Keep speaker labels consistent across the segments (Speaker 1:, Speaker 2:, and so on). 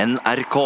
Speaker 1: NRK.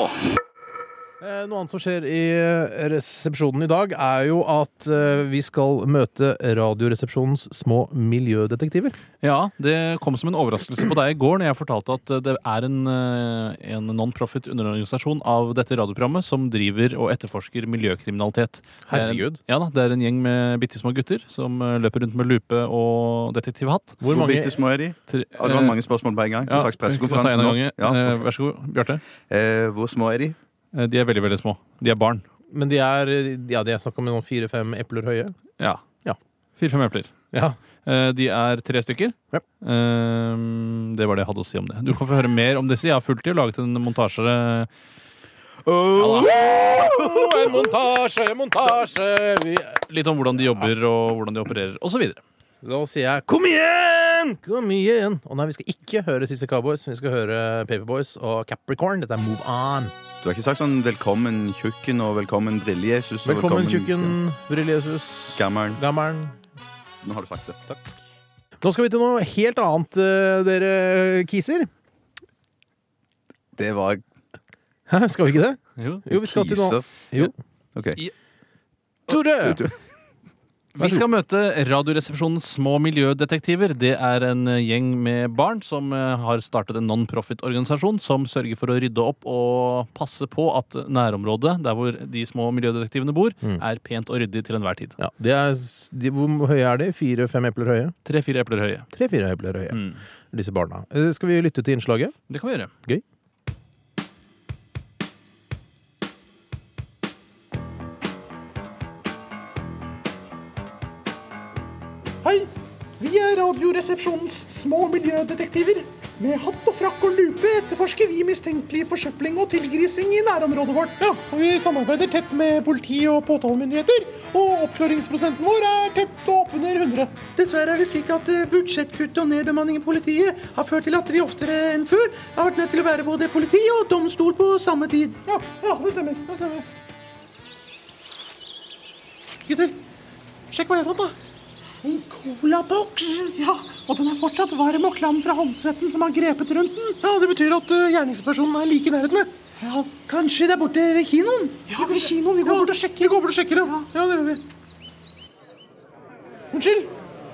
Speaker 2: Eh, Noe annet som skjer i eh, resepsjonen i dag, er jo at eh, vi skal møte Radioresepsjonens små miljødetektiver.
Speaker 3: Ja, det kom som en overraskelse på deg i går når jeg fortalte at det er en, eh, en non-profit underorganisasjon av dette radioprogrammet som driver og etterforsker miljøkriminalitet.
Speaker 2: Herregud.
Speaker 3: Det er en- Ja da, Det er en gjeng med bitte små gutter som eh, løper rundt med lupe og detektivhatt.
Speaker 2: Hvor
Speaker 4: Hvor
Speaker 2: mange
Speaker 4: bitte små er de?
Speaker 3: Tre-
Speaker 4: Ja, det var mange spørsmål på en gang.
Speaker 3: Eh, Ja,
Speaker 4: Ja, slags
Speaker 3: vi kan ta
Speaker 4: pressekonferanse
Speaker 3: en av
Speaker 4: nå.
Speaker 3: gangen.
Speaker 4: Ja.
Speaker 3: Eh, Vær så god, Bjarte.
Speaker 4: Eh, hvor små er de?
Speaker 3: Eh, De er veldig, veldig små. De er barn.
Speaker 2: Men de er eh, ja, de er snakk om noen fire-fem epler høye.
Speaker 3: Ja.
Speaker 2: Ja.
Speaker 3: Fire-fem epler.
Speaker 2: Ja.
Speaker 3: Eh, De er tre stykker.
Speaker 2: Ja.
Speaker 3: Eh, Det var det jeg hadde å si om det. Du kan få høre mer om disse. Jeg har fulgt dem og laget en montasje. eh,
Speaker 4: Oh,
Speaker 2: En montasje, montasje! Vi...
Speaker 3: Litt om hvordan de jobber og hvordan de opererer osv.
Speaker 2: Da sier jeg kom igjen! Kom igjen! Og nei, vi skal ikke høre Sissy Cowboys, men vi skal høre Paperboys og Capricorn. Dette er Move On.
Speaker 4: du har ikke sagt sånn 'velkommen tjukken' og 'velkommen drille-Jesus'? og
Speaker 2: Velkommen, tjukken, Brille-Jesus,
Speaker 4: Gammel.
Speaker 2: gammelen.
Speaker 4: Nå har du sagt det.
Speaker 2: Nå skal vi til noe helt annet, eh, dere kiser.
Speaker 4: Det var
Speaker 2: Hæ, skal vi ikke det? Jo, vi skal til noe
Speaker 4: kiser.
Speaker 2: Jo.
Speaker 4: Ok.
Speaker 2: Tore!
Speaker 3: Vi skal møte Radioresepsjonens små miljødetektiver. Det er en gjeng med barn som eh, har startet en non-profit-organisasjon som sørger for å rydde opp og passe på at nærområdet der hvor de små miljødetektivene bor,
Speaker 2: Mm.
Speaker 3: er pent og ryddig til enhver tid.
Speaker 2: Ja, de er, s- de, hvor høye er de? Fire-fem epler høye?
Speaker 3: Tre-fire epler høye.
Speaker 2: Tre-fire epler høye,
Speaker 3: Mm.
Speaker 2: disse barna. Eh, Skal vi lytte til innslaget?
Speaker 3: Det kan vi gjøre.
Speaker 2: Gøy.
Speaker 5: Hei, vi er Radioresepsjonens små miljødetektiver. Med hatt og frakk og lupe etterforsker vi mistenkelig forsøpling og tilgrising i nærområdet vårt. Ja, og Vi samarbeider tett med politi og påtalemyndigheter, og oppklaringsprosenten vår er tett og oppunder 100. Dessverre er det slik at budsjettkutt og nedbemanning i politiet har ført til at vi oftere enn før har vært nødt til å være både politi og domstol på samme tid. Ja, ja det stemmer. det stemmer. Gutter, sjekk hva jeg fant, da. En colaboks? Mm, Ja, og den er fortsatt varm og klam fra håndsvetten som har grepet rundt den. Ja, Det betyr at eh, gjerningspersonen er like i nærheten. Ja, Kanskje det er borte ved kinoen? Ja, ved kinoen. Vi går bort og sjekker. Vi går bort og sjekker, ja. ja. det gjør vi. Unnskyld.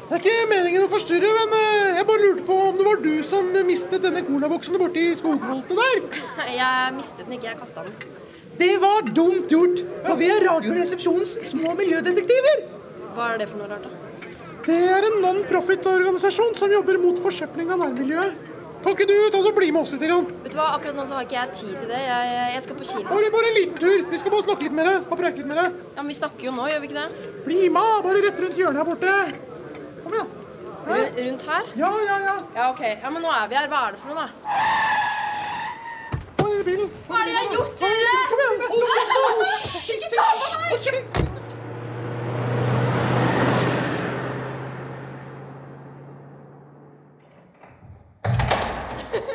Speaker 5: Det er ikke meningen å forstyrre, men eh, jeg bare lurte på om det var du som mistet denne colaboksen borti skogholtet der?
Speaker 6: Jeg mistet den ikke, jeg kasta den.
Speaker 5: Det var dumt gjort. Og vi er Radioresepsjonens små miljødetektiver.
Speaker 6: Hva er det for noe rart, da?
Speaker 5: Det er en non-profit-organisasjon som jobber mot forsøpling av nærmiljøet. Kan ikke du ta oss og bli med oss litt? Jan?
Speaker 6: Vet du hva, Akkurat nå så har ikke jeg tid til det. Jeg, jeg skal på kino.
Speaker 5: Bare, bare en liten tur. Vi skal bare snakke litt med deg og preike litt med deg.
Speaker 6: Ja, Men vi snakker jo nå, gjør vi ikke det?
Speaker 5: Bli med! Bare rett rundt hjørnet her borte. Kom igjen.
Speaker 6: Ru- Rundt her?
Speaker 5: Ja, ja, ja.
Speaker 6: Ja, OK. Ja, Men nå er vi her. Hva er det for noe, da?
Speaker 5: Kom igjen, bilen.
Speaker 6: Hva er det jeg har gjort, dere?
Speaker 5: Kom igjen. Hold kjeft, hold kjeft.
Speaker 6: Ikke ta på meg!
Speaker 5: Hold kjeft.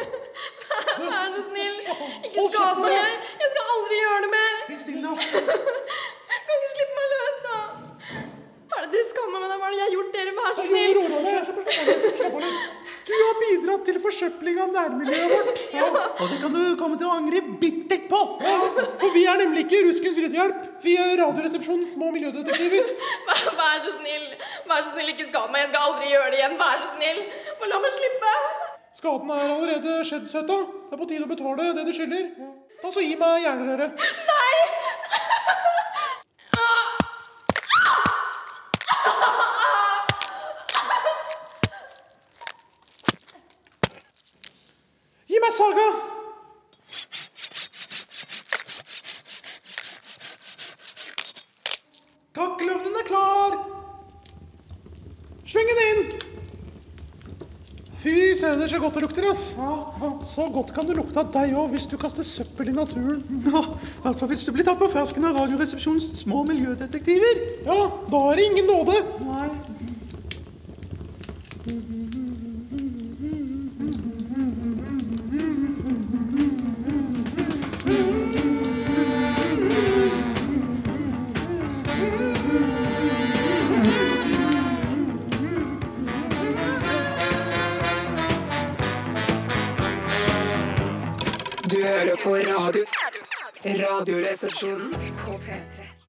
Speaker 6: Vær så snill. Ikke skad meg. Jeg skal aldri gjøre det mer.
Speaker 5: Tenk stille nå.
Speaker 6: Kan ikke slippe meg løs, da. Hva er det dere skammer meg? da? Hva er det jeg har gjort dere? Vær så
Speaker 5: Ro
Speaker 6: snill.
Speaker 5: deg ned. Slapp av litt. Slapp av litt. Du har bidratt til forsøpling av nærmiljøet vårt. Og det kan du komme til å angre bittert på. Ja, for vi er nemlig ikke Ruskens ryddehjelp. Vi er Radioresepsjonens små miljødetektiver.
Speaker 6: Vær- Vær så snill. Vær så snill, ikke skad meg. Jeg skal aldri gjøre det igjen. Vær så snill. Bare la meg slippe.
Speaker 5: Skaden er allerede skjedd, søta. Det er på tide å betale det du skylder. Ta så gi meg jernrøret. Gi meg saga! Kakkelovnen er klar! Sleng den inn! Fy søder, så godt det lukter, ass. Så godt kan det lukte av deg òg, hvis du kaster søppel i naturen. Ja, I hvert fall hvis du blir tatt på fersken av Radioresepsjonens små miljødetektiver. Ja, da er det ingen nåde. Nei.
Speaker 7: Du hører på
Speaker 1: på radio. Radioresepsjonen på P3.